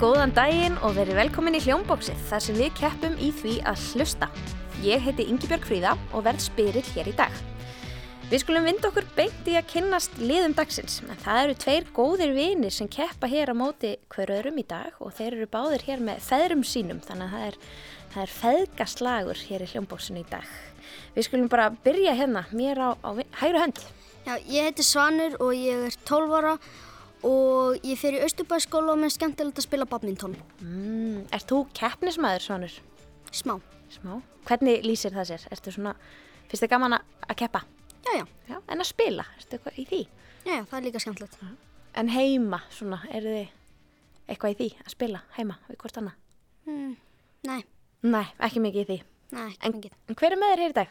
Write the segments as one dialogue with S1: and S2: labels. S1: Góðan daginn og verið velkomin í Hljómbóksið þar sem við keppum í því að hlusta. Ég heiti Ingibjörg Fríða og verð spyrill hér í dag. Við skulum vinda okkur beint í að kynnast liðum dagsins, en það eru tveir góðir vinir sem keppa hér á móti hver öðrum í dag og þeir eru báðir hér með feðrum sínum, þannig að það er, það er feðgaslagur hér í Hljómbóksinu í dag. Við skulum bara byrja hérna, mér á, á vi- hægri hönd.
S2: Já, ég heiti Svanur og ég er 12 ára og ég fer í Östubæðskóla og mér er skemmtilegt að spila badminton.
S1: Mm, ert þú keppnismæður, Svonur?
S2: Smá.
S1: Smá. Hvernig lýsir það sér? Ertu svona, finnst þið gaman að að keppa?
S2: Já, já,
S1: Já. En að spila, ertu eitthvað í því?
S2: já, já, það er líka skemmtilegt.
S1: En heima, svona, eru þið eitthvað í því að spila heima við hvort annað?
S2: Mm, nei,
S1: Nei, ekki mikið í því.
S2: nei, ekki
S1: En,
S2: mikið.
S1: en hver er með þér hér í dag?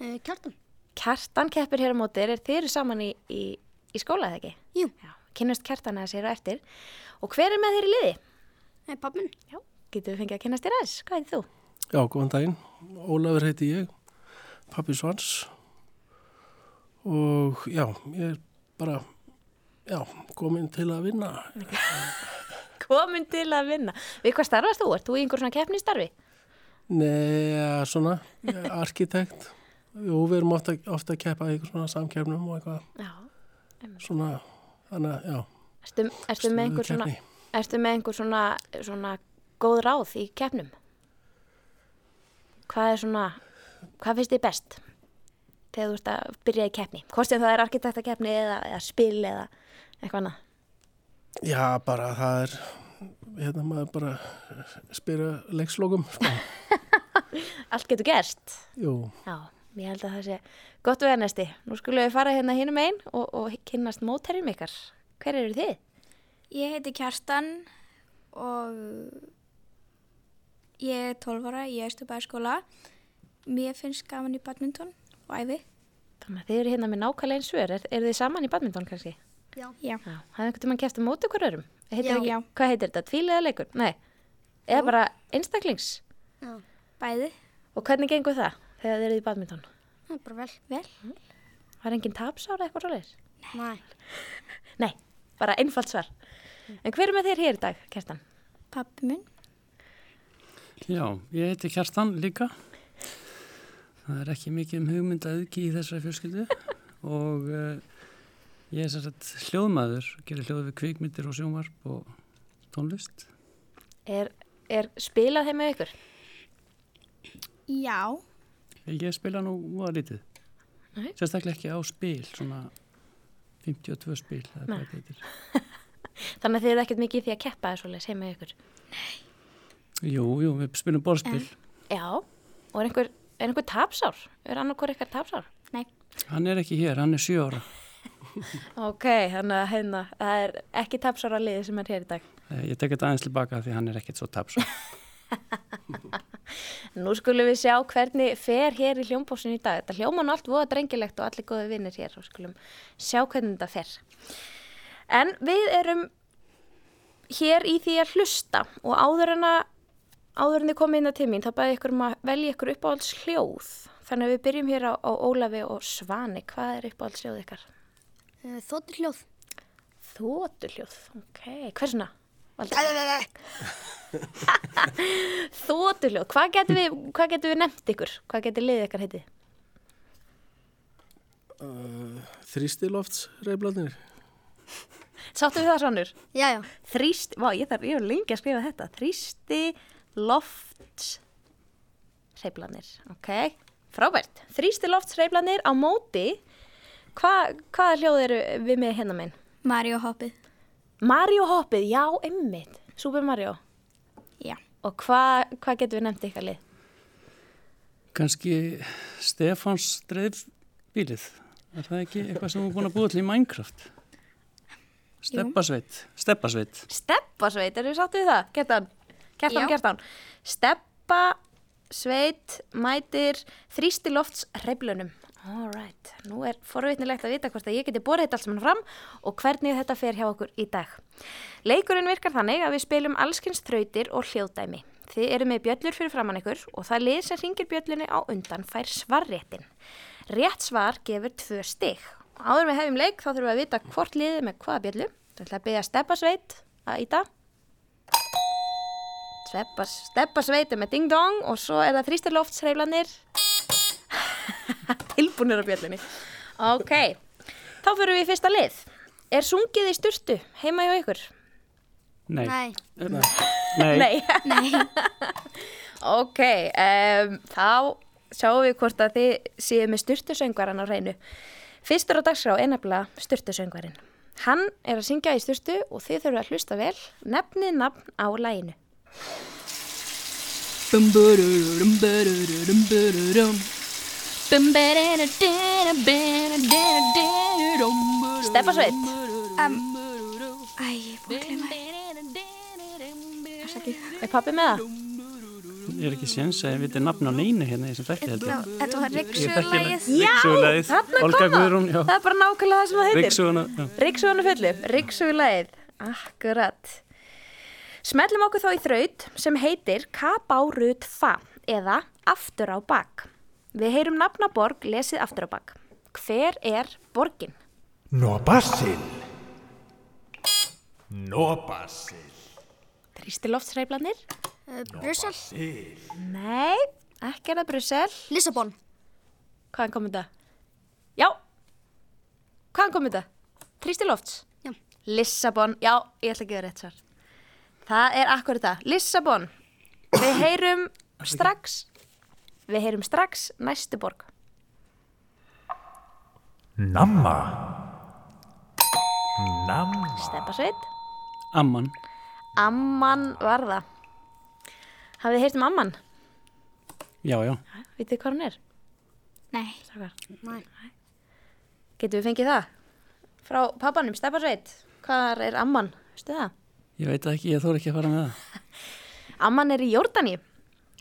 S2: Uh, kjartan?
S1: Kjartan keppir hér á móti, þér, er þið eru saman í, í, í skóla eða ekki?
S2: Jú,
S1: Já, kynnast Kjartan aðeins hér á eftir. Og hver er með þér í liði?
S2: nei, pappin.
S1: Já, getur við fengið að kynnast þér aðeins, hvað er þú?
S3: Já, góðan daginn. Ólafur heiti ég, pappi Svans og já, ég er bara, já, komin til að vinna.
S1: Komin til að vinna. Við hvað starfast þú? Ert þú í einhver svona keppnistarfi?
S3: Nei, ja, svona, ég er arkitekt og við erum ofta, ofta að keppa í einhver svona samkefnum og eitthvað
S1: Já.
S3: svona, þannig að, já,
S1: Ertu, ertu með einhver svona...
S3: keppni.
S1: Ertu með einhver svona, svona góð ráð í keppnum? Hvað er svona, hvað finnst þið best þegar þú ert að byrja í keppni? Hvort sem það er arkitektakeppni eða, eða spil eða eitthvað annað.
S3: Já, bara það er, hérna maður bara spyrja leikslokum, sko,
S1: Allt getur gerst.
S3: jú.
S1: Já, ég held að það sé gott vegar næsti. Nú skulum við fara hérna hinum einn og, og kynnast móterjum ykkar. Hver eru þið?
S4: Ég heiti Kjartan og ég er 12 ára, ég er stupæðskóla. Mér finnst gaman í badminton og æfi.
S1: Þannig að þið eru hérna með nákvæmlega eins svör. Er, eru þið saman í badminton kannski?
S2: Já.
S4: Já.
S1: Já, hafði einhvern tímann kæft um móti okkur örum? Heitir
S4: Já.
S1: ekki,
S4: Já.
S1: Hvað heitir þetta? Tvíliða leikur? Nei, eða bara einstaklings.
S2: Já,
S4: Bæði.
S1: Og hvernig gengur það þegar þið eruð í badminton?
S2: það er bara vel.
S4: Vel.
S1: Var engin tapsára eitthvað svoleiðis?
S2: Nei.
S1: Nei, bara einfalt svar. En hver er með þér hér í dag, Kerstan?
S4: Pappi minn.
S5: Já, ég heiti Kjartan líka. Það er ekki mikið um hugmynd að auðgi í þessari fjölskyldu og uh, ég er sem sagt hljóðmaður, gerir hljóð við kvikmyndir og sjónvarp og tónlist.
S1: Er, er spilað þeim með ykkur?
S4: Já.
S5: Ég spila nú úða lítið.
S1: Nei.
S5: Sérstaklega ekki á spil, svona 52 spil, það er
S1: Nei.
S5: bara þetta.
S1: Þannig að þið eru ekkert mikið í því að keppa eða svoleiðis heim með ykkur.
S5: Jú, jú, við spilum borðspil.
S1: Já, og er einhver, er einhver tapsár? Er annarkor ykkar tapsár?
S4: Nei.
S5: Hann er ekki hér, hann er sjö ára.
S1: Ok, þannig að hérna, það er ekki tapsára liðið sem er hér í dag.
S5: Eh, Ég tek þetta aðeins tilbaka því hann er ekkert svo tapsó.
S1: Nú skulum við sjá hvernig fer hér í hljómbósinu í dag. Þetta hljóman allt voða drengilegt og allir góði vinnir hér og skulum sjá hvernig þetta fer. En við erum hér í því að hlusta og áður en að áður en þið komið inn að tímin þá bæði ykkur um að velja ykkur uppáhalds hljóð. Þannig að við byrjum hér á, á Ólafi og Svani. Hvað er uppáhalds hljóð ykkar?
S2: Uh, Þóttir hljóð.
S1: Þótu hljóð, ok. Hversuna? Þótu hljóð, hvað getum við, hvað getum við nefnt ykkur? Hvað getur liðið ykkar heitið?
S3: Uh, Þrýstilofts reyflarnir.
S1: Sáttu við það svonur?
S2: Já, já.
S1: Þrýst, vá, ég þarf, ég er lengi að skrifa þetta. Þrýsti lofts reiflanir, ok? Frábært. Þrýsti lofts reiflanir á móti. Hva, hvaða hljóð eru við með hérna meginn?
S4: Mario hoppið.
S1: Mario hoppið, já, ymmit. Super Mario.
S4: Já.
S1: Og hva, hvað getum við nefnt ykkar lið?
S5: Kanski Stefáns dreifbílið. Er það ekki eitthvað sem hún er búin að búa til í Minecraft? Steppasveit. Steppasveit.
S1: Steppasveit, eru við sáttu við það? Kertan, kertan,
S4: Já.
S1: kertan. Steppasveit mætir þrýsti lofts reiflunum. All right, nú er forvitnilegt að vita hvort að ég geti borðið þetta allt saman fram og hvernig þetta fer hjá okkur í dag. Leikurinn virkar þannig að við spilum allskins þrautir og hljóðdæmi. Þið eru með bjöllur fyrir framann ykkur og það lið sem ringir bjöllunni á undan fær svarréttin. Rétt svar gefur tvö stig. Áður en við hefum leik þá þurfum við að vita hvort liðið er með hvaða bjöllu. Það ætla að byggja steppasveit að íta. Steppa, steppa sveiti með ding dong og svo er það þrýstiloftsreiflanir tilbúinir á bjöllinni ok, þá fyrir við í fyrsta lið er sungið í sturtu heima hjá ykkur?
S5: Nei.
S2: Nei,
S5: Nei.
S1: ok, um, þá sjáum við hvort að þið séu með sturtusöngvaran á reynu fyrstur á dagskrá er nefnilega sturtusöngvarin hann er að syngja í sturtu og þið þurfum að hlusta vel nefnið nafn á læginu Steppa Sveit
S4: Æ, ég er búin að glemma það. Afsakið.
S1: Er pappi með það?
S5: Ég er ekki séns að ég viti nafn á neinu hérna í þessum þekki heldur.
S4: Já, Þetta var
S5: Ryggsugulagið.
S4: ryggsugulagið.
S5: Ryggsugulagið.
S1: Þarna kom
S5: Olga
S1: það.
S5: Guðrún, já.
S1: Það er bara nákvæmlega það sem það heitir
S5: Ryggsuguna. já.
S1: Ríksugan er fullu, ríksugulagið, akkurat. Smellum okkur þá í þraut sem heitir Kabárut Fa eða Aftur á bak. Við heyrum nafnaborg lesið aftur á bak. Hver er borgin?
S6: Norbasil. Norbasil.
S1: Þrýsti loftsreiflanir?
S2: uh, Brussel,
S1: Nei, ekki er það Brussel.
S2: Lissabon,
S1: Hvaðan kom þetta? Já, hvaðan kom þetta? Þrýsti lofts?
S2: Já.
S1: Lissabon, já, ég ætla ekki að gefa rétt svar. Það er akkurat það, Lissabon. Við heyrum strax, við heyrum strax næstu borg.
S6: Namma. Namma.
S1: Steppa sveit,
S5: Amman.
S1: Amman var það. Hafið þið heyrt um Amman?
S5: Já, já.
S1: Vitið hvað hún er?
S4: Nei,
S1: Strákar?
S2: Nei.
S1: Getum við fengið það? Frá pappanum, Steppa sveit, hvar er Amman? Vistu það?
S5: Ég veit það ekki, ég þóra ekki að fara með það.
S1: Amman er í Jórdaníu.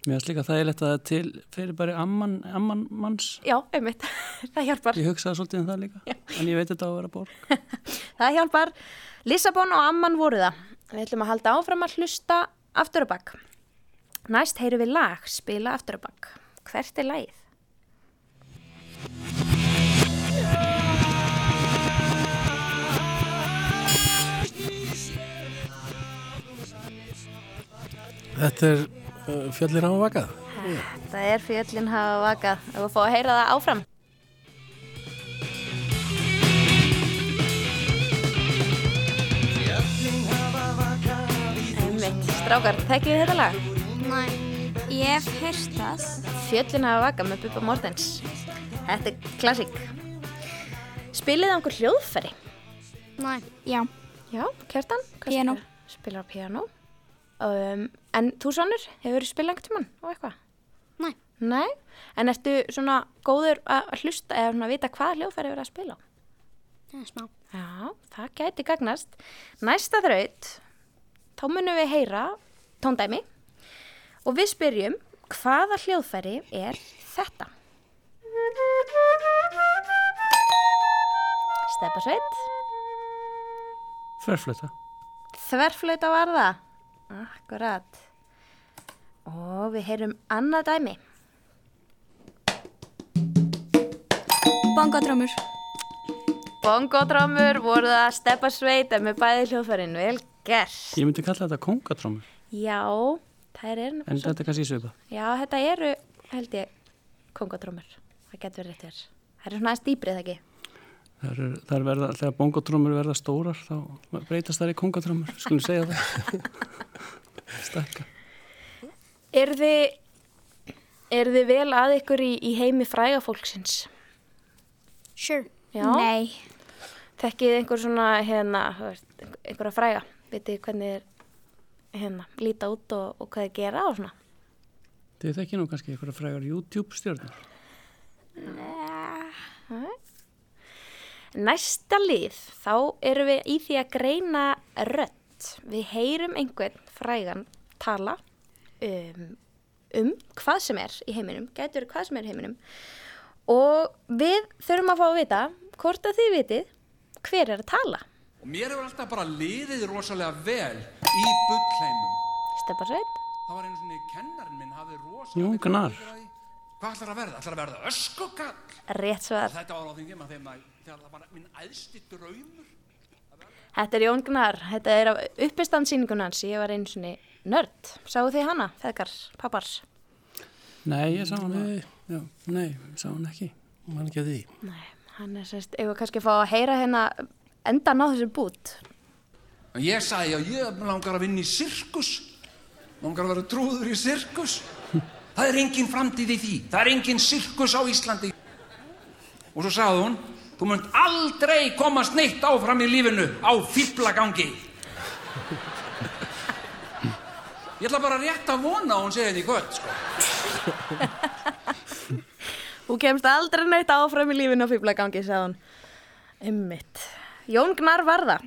S5: Mér finnst líka þægilegt að það er til fyrir bara amman, amman manns.
S1: Já, einmitt, það hjálpar.
S5: Ég hugsaði svolítið um það líka. En ég veit þetta á að vera borg.
S1: Það hjálpar. Lissabon og Amman voru það. Við ætlum að halda áfram að hlusta aftur og bakk. Næst heyrum við lag, spila aftur og bakk. Hvert er lagið?
S3: Þetta er uh, fjallir hafa vakað.
S1: Það er fjöllin hafa vakað. Það var fá að heyra það áfram. Einmitt. Strákar, tekið þið þetta lag?
S2: nei,
S4: ég hef heyrt það.
S1: Fjöllin hafa vakað með Bubba Mortens. Þetta er klassík. Spilið það einhver hljóðfæri?
S2: nei,
S4: Já,
S1: Já, Kjartan? hvað
S4: Píanó.
S1: spilar- Spilar á piano. Um, en þú Sannur, hefur þú spilað einhvern tímann og eitthvað?
S2: Nei.
S1: Nei? En ertu svona góður að að hlusta eða svona að vita hvað hljóðfæri hefur að spila á?
S2: það er smá.
S1: Já, það gæti gagnast. Næsta þraut, þá munum við heyra tóndæmi og við spyrjum hvaða hljóðfæri er þetta? Steppa sveit.
S5: Þverflöta.
S1: Þverflöta var það. Akkurat. Og við heyrum annað dæmi.
S4: bongodrömmur.
S1: Bongodrömmur voru það að steppa sveita með bæði hljóðfærin. Vel gert.
S5: Ég myndi kalla þetta kongatrómur.
S1: Já, það eru
S5: En þetta er kannski svipað.
S1: Já, þetta eru, held ég, kongodrömmur. Það getur verið rétt þér. Það eru svona aðeins dýbrið ekki.
S5: Það er, það er verða, þegar bongodrómur verða stórar þá breytast það í kongatrómur. Skulum segja það. Stakka.
S1: Er þið, er þið vel að ykkur í, í heimi frægafólksins?
S2: Sure,
S1: Já.
S4: Nei,
S1: Þekkið einhver svona, hérna, þú veist, einhver- einhverja fræga, vitið þið hvernig þeir, hérna, líta út og, og hvað þeir gera og svona.
S5: Þið þekki nú kannski einhverja frægar YouTube stjórnur.
S1: Næsta lið, þá erum við í því að greina rött. Við heyrum einhvern frægan tala um, um hvað sem er í heiminum, gætur hvað sem er í heiminum og við þurfum að fá að vita hvort að þið vitið hver er að tala.
S7: Og mér hefur alltaf bara liðið rosalega vel í bullheimum.
S1: Steppa Sveit,
S7: Það var einu svona kennarinn minn hafði rosalega...
S5: Jón
S7: miklar
S5: Gnarr.
S7: áhyggjur af því. Hvað ætlar að verða? Ætlar að verða öskugall?
S1: rétt svar.
S7: Þetta var á þeim tíma þegar maður- þegar það var minn æðsti draumur.
S1: Þetta er Jón Gnar, þetta er af uppistandsýningunans, ég var einu sinni Nörd, sáu þið hana, feðgar, pappar?
S5: Nei, ég sá hana.
S3: Nei.
S5: Já, nei, ég sá hana ekki.
S3: mann ekki að því.
S1: Nei, hann er sérst, eigum við kannski að fá að heyra hérna endan á þessu bút.
S7: En ég sagði, já, ég langar að vinna í sirkus. Langar að vera trúður í sirkus. Það er engin framtíð í því. Það er engin sirkus á Íslandi. Og svo sagði hún, þú munt aldrei komast neitt áfram í lífinu á fýblagangi. Ég ætla bara rétt að vona að hún segi þetta í kvöld, sko.
S1: Hún kemst aldrei neitt áfram í lífinu á fýblagangi, sagði hún. Ummitt. Jón Gnar Varða,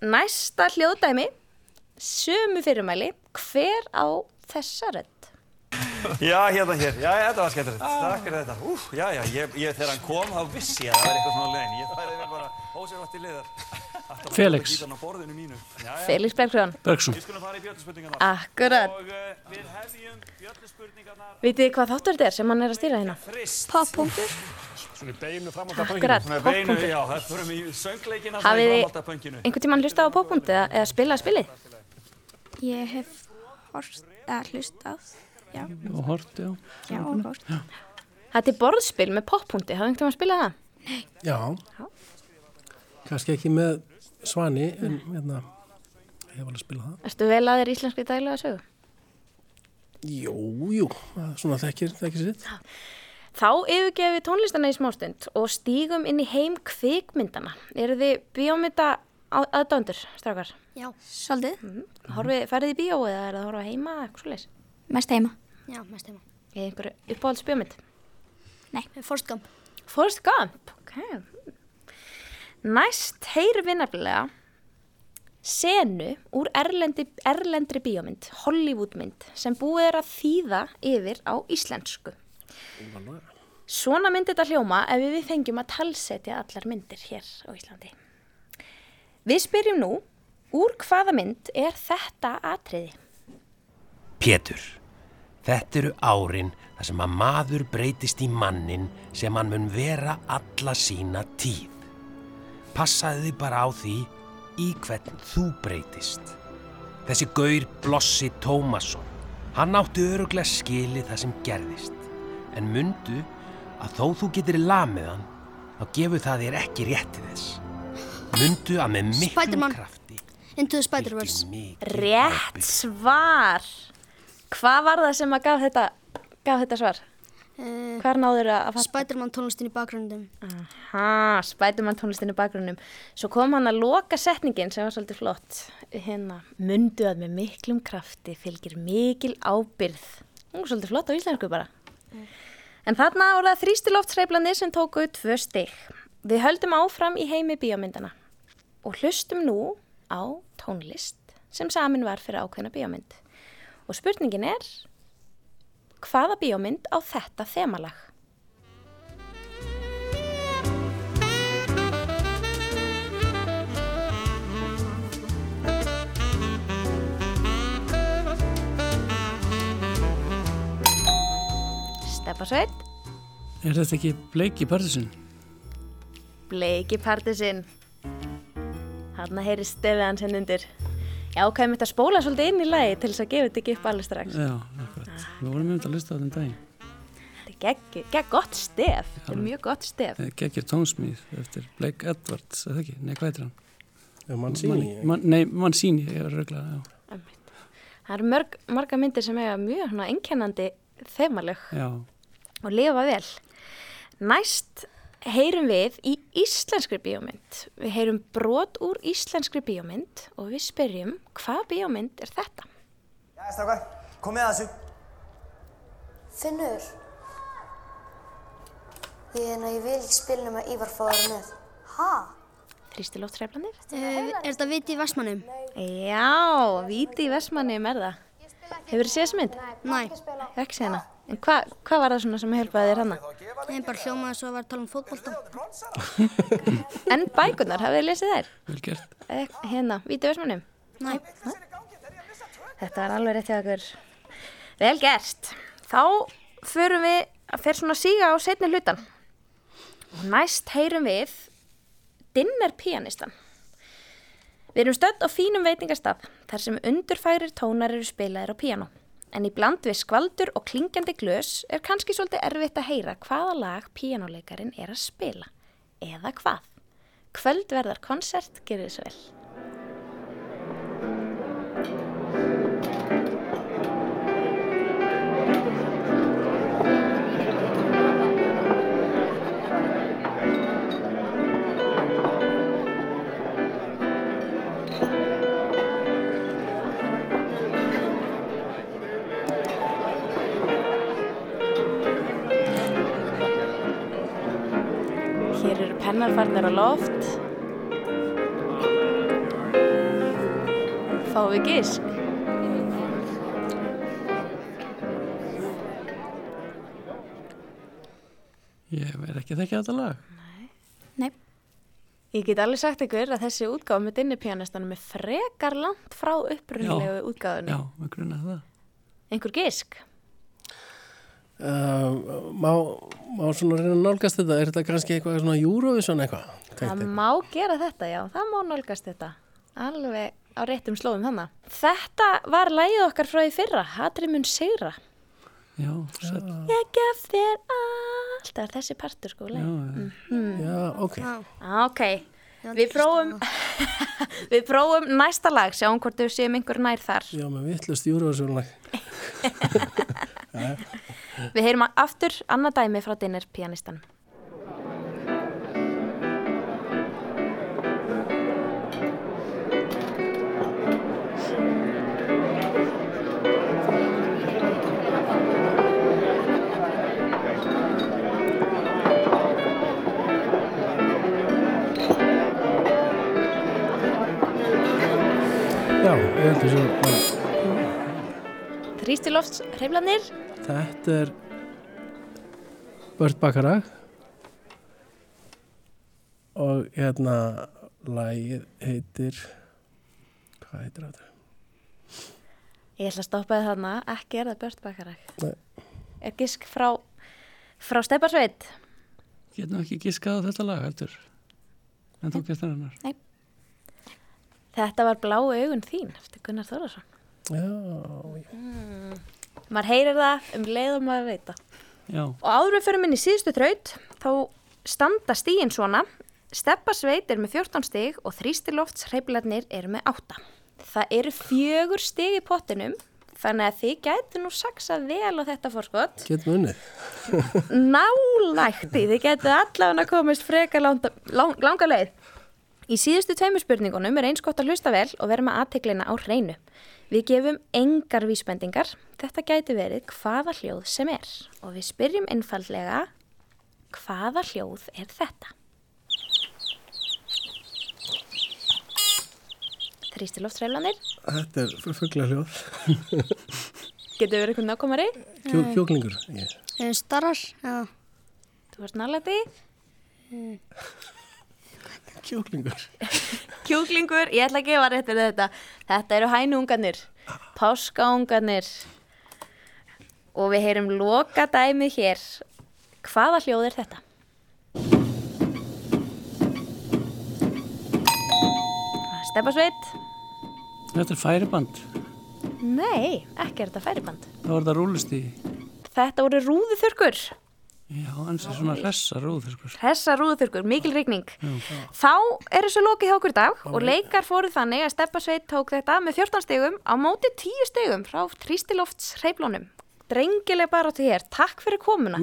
S1: næsta hljóðdæmi, sömu fyrirmæli, hver á þessa rödd?
S8: Já, hérna hér. Já, já, þetta var skemmtilegt. Takk fyrir þetta. Úf, já, já, ég, ég, þegar hann kom þá vissi ég að það var eitthvað svona legin. Ég færði mér bara ósérvætt í liðar. Alltaf bara
S5: Felix.
S8: að gítan á borðinu mínu. Já, já.
S1: Felix Bergsson,
S5: Bergsson.
S8: Við skulum fara í björnspurningarnar.
S1: Ah, akkurat.
S8: Og uh, við hefjum björnspurningarnar
S1: Vitið þið hvað þáttur þetta er sem hann er að stýra hérna?
S8: frist.
S1: Poppunktur. Akkurat,
S8: Svona beinu,
S1: poppunktur.
S8: já, það förum í söngleikina
S1: Hafið þið-
S8: alltaf pönginu.
S1: Einhvern tímann hlusta á poppunktu eða, eða spila spilið?
S9: Ég hef horst, eða hlustað, já,
S5: Og hort, já.
S9: já, og horst.
S1: Þetta er borðspil með poppunkti, hafðu einhvern tímann spilað það?
S3: Já, kannski ekki með svani, en hérna, ég hef alveg að spila það.
S1: Erstu vel að þér íslenski daglega sögu?
S3: Jú, jú, það- Ah, svona þekkir, þekkir sitt.
S1: Þá yfirgefum við tónlistana í smástund og stígum inn í heim kvikmyndana. Eru þið bíómynda aðdöndur, strákar?
S2: Já,
S9: Svolítið,
S1: Horfið, farið þið í bíó eða er það að horfa heima, eitthvað svoleiðis?
S9: mest heima.
S2: já, mest heima. Eh,
S1: Eða einhverju uppáhalds bíómynd?
S2: Forstkamp.
S1: Forrest Gump, ok. Næst heyrum við nefnilega senu úr erlendi, erlendri bíómynd, Hollywoodmynd, sem búið er að þýða yfir á íslensku. Svona myndi þetta hljóma ef við fengjum að talsetja allar myndir hér á Íslandi. Við spyrjum nú, úr hvaða mynd er þetta atriði?
S10: Pétur, þetta eru árin þar sem að maður breytist í mannin sem hann mun vera alla sína tíð. Passaðu þið bara á því í hvern þú breytist. Þessi gaur Blossi Tómasson, hann átti öruglega skili það sem gerðist. En mundu að þó þú getur lamið hann, þá gefur það þér ekki rétti þess. Mundu að með miklum
S2: Spiderman.
S10: krafti...
S2: Into the Spider-Verse.
S1: Rétt svar! Hvað var það sem að gaf þetta, gaf þetta svar?
S2: Uh,
S1: Hvar náður að fatta?
S2: Spider-Man tónlistin í bakgröndum.
S1: Aha, Spiderman tónlistin í bakgrunnum. Svo kom hann að loka setningin sem var svolítið flott. Hérna, mundu að með miklum krafti fylgir mikil ábyrð. Hún er svolítið flott á íslensku bara. En þarna voru það þrýsti loftsreiflandi sem tóku tvö stig. Við höldum áfram í heimi bíómyndana og hlustum nú á tónlist sem samin var fyrir ákveðna bíómynd. Og spurningin er, hvaða bíómynd á þetta þemalag? Steppasveit,
S5: Er þetta ekki bleiki partisan?
S1: Bleiki partisinn. Hanna heyri stefið hans henn undir. Já, hvað ég mitt að spóla svolítið inn í lagi til þess að gefa þetta ekki upp alveg strax.
S5: Já, akkurat. Við vorum einmitt að lista á þenn daginn.
S1: Þetta er gegg, gegg gott stef. Þetta er mjög gott stef.
S5: Gekkir tónsmíð eftir Blake Edwards, eða ekki? Nei, hvað heitir hann?
S3: Ef mann síni,
S5: Man, man, nei, Mancini, ég er röglega, já.
S1: Einmitt. Það eru mörg, marga myndir sem eiga mjög svona einkennandi þemalög
S5: Já,
S1: og lifa vel. Næst heyrum við í íslenskri bíómynd. Við heyrum brot úr íslenskri bíómynd og við spyrjum hvað bíómynd er þetta?
S8: Já, strákar, komið að þessu.
S11: Finnur, ég, hérna, ég vil ekki spila nema Ívar fáður með. Ha?
S1: Þrýsti lóttræflanir?
S2: Uh, er þetta viti í Vestmannum?
S1: Já, víti í Vestmannum er það. Hefur þið séð þessu mynd?
S2: Næ,
S1: Ég hef Ekki séð hana. En hva, hvað var það svona sem hjálpaði þér hana?
S2: það er bara hljómaði svo að vera að tala um fótbolta.
S1: En bækunar, hafið þið lesið þær?
S5: vel gert.
S1: Eh, Hérna, víti í Vestmannum?
S2: Næ,
S1: Þetta var alveg rétt hjá okkur. Vel gert. Þá förum við að fer svona að síga á setni hlutan. Og næst heyrum við dinner pianistan. Við erum stödd á fínum veitingastaf þar sem undurfærir tónar eru spilaðir á píano. En í bland við skvaldur og klingjandi glös er kannski svolítið erfitt að heyra hvaða lag píanoleikarin er að spila. Eða hvað? Kvöldverðar konsert gerir þessu vel. Hér eru pennarfarnir á loft. Fáum við gísk?
S5: Ég verð ekki að þekka þetta lag.
S1: Ég get alveg sagt ykkur að þessi útgáfa með dinnipjánestanum er frekar langt frá upprunlegu útgáfunum.
S5: Já, við grunnaði það.
S1: Einhver gísk?
S3: Uh, má, má svona reyna að nálgast þetta? Er þetta kannski eitthvað svona Eurovision eitthvað?
S1: Það má gera þetta, já, það má nálgast þetta. Alveg á réttum slóðum þannig. Þetta var lægið okkar frá í fyrra, Hatrið mun sigra.
S5: Já, sætt.
S1: Ég gef þér allt. Það er þessi partur sko, lægið.
S5: Já,
S3: já, ok.
S1: Ok, við prófum, við prófum næsta lag, sjáum hvort við séum einhver nær þar.
S3: Já, með vittlust Eurovision-lag.
S1: Við heyrum aftur annað dæmi frá dinner pianistanum.
S3: Já, ég held þessu bara...
S1: Þrýstilofts hreyflanir,
S3: Þetta er Börn Bakarag og hérna lagið heitir hvað heitir þetta?
S1: ég ætla að stoppa þið þarna, ekki er það Bört Bakarak.
S3: Nei.
S1: Er gisk frá, frá Stepparsveit?
S5: Getum ekki gískað á þetta lag heldur. En þú getur hennar.
S1: Þetta var bláu augun þín eftir Gunnar Þólarsson.
S3: Já,
S1: Mm. Maður heyrir það um leið og maður veit það.
S5: Já.
S1: Og áður við förum inn í síðustu þraut, þá standa stíin svona. Steppasveit er með 14 stig og þrýstilofts hreiflarnir er með 8. Það eru fjögur stig í pottinum, þannig að þið gætu nú saksað vel á þetta fórskot.
S3: Getum unnið.
S1: nálægt í þið getur allavega komist frekar langa, langa leið. Í síðustu tveimur spurningunum er eins gott að hlusta vel og vera með aðteglina á hreinu. Við gefum engar vísbendingar, þetta gæti verið hvaða hljóð sem er og við spyrjum einfallega hvaða hljóð er þetta? Þrýsti loftræflanir,
S3: Þetta er fuggla hljóð.
S1: getur verið einhvern nákomari?
S3: Kjú, kjúklingur. Ég.
S1: Starrar, já. Þú varst nálægt í?
S3: Kjúklingur.
S1: Kjúklingur, ég ætla að gefa rétt fyrir þetta. Þetta eru hænunganir, páskaunganir og við heyrum loka dæmið hér. Hvaða hljóð er þetta? Steppasveit?
S5: Þetta er færiband.
S1: Nei, ekki er þetta færiband.
S5: Það var þetta rúlust í.
S1: Þetta voru rúðuþurkur,
S5: Já, ansið svona hressa rúður sko.
S1: hressa rúðuþurkur, mikil rigning.
S5: Já.
S1: Þá er þessu lokið hjá okkur í dag og leikar fóruð þannig að Steppasveit tók þetta með 14 stegum á móti 10 stegum frá Trístilofts hreiflónum. Drengileg baráttu hér, takk fyrir komuna.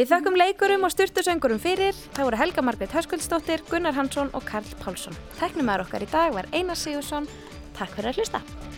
S1: Við þakkum leikurum og styrtusöngurum fyrir. Það voru Helga Margrét Höskuldsdóttir, Gunnar Hansson og Karl Pálsson. Teknumæður okkar í dag var Einar Sigursson. Takk fyrir að hlusta.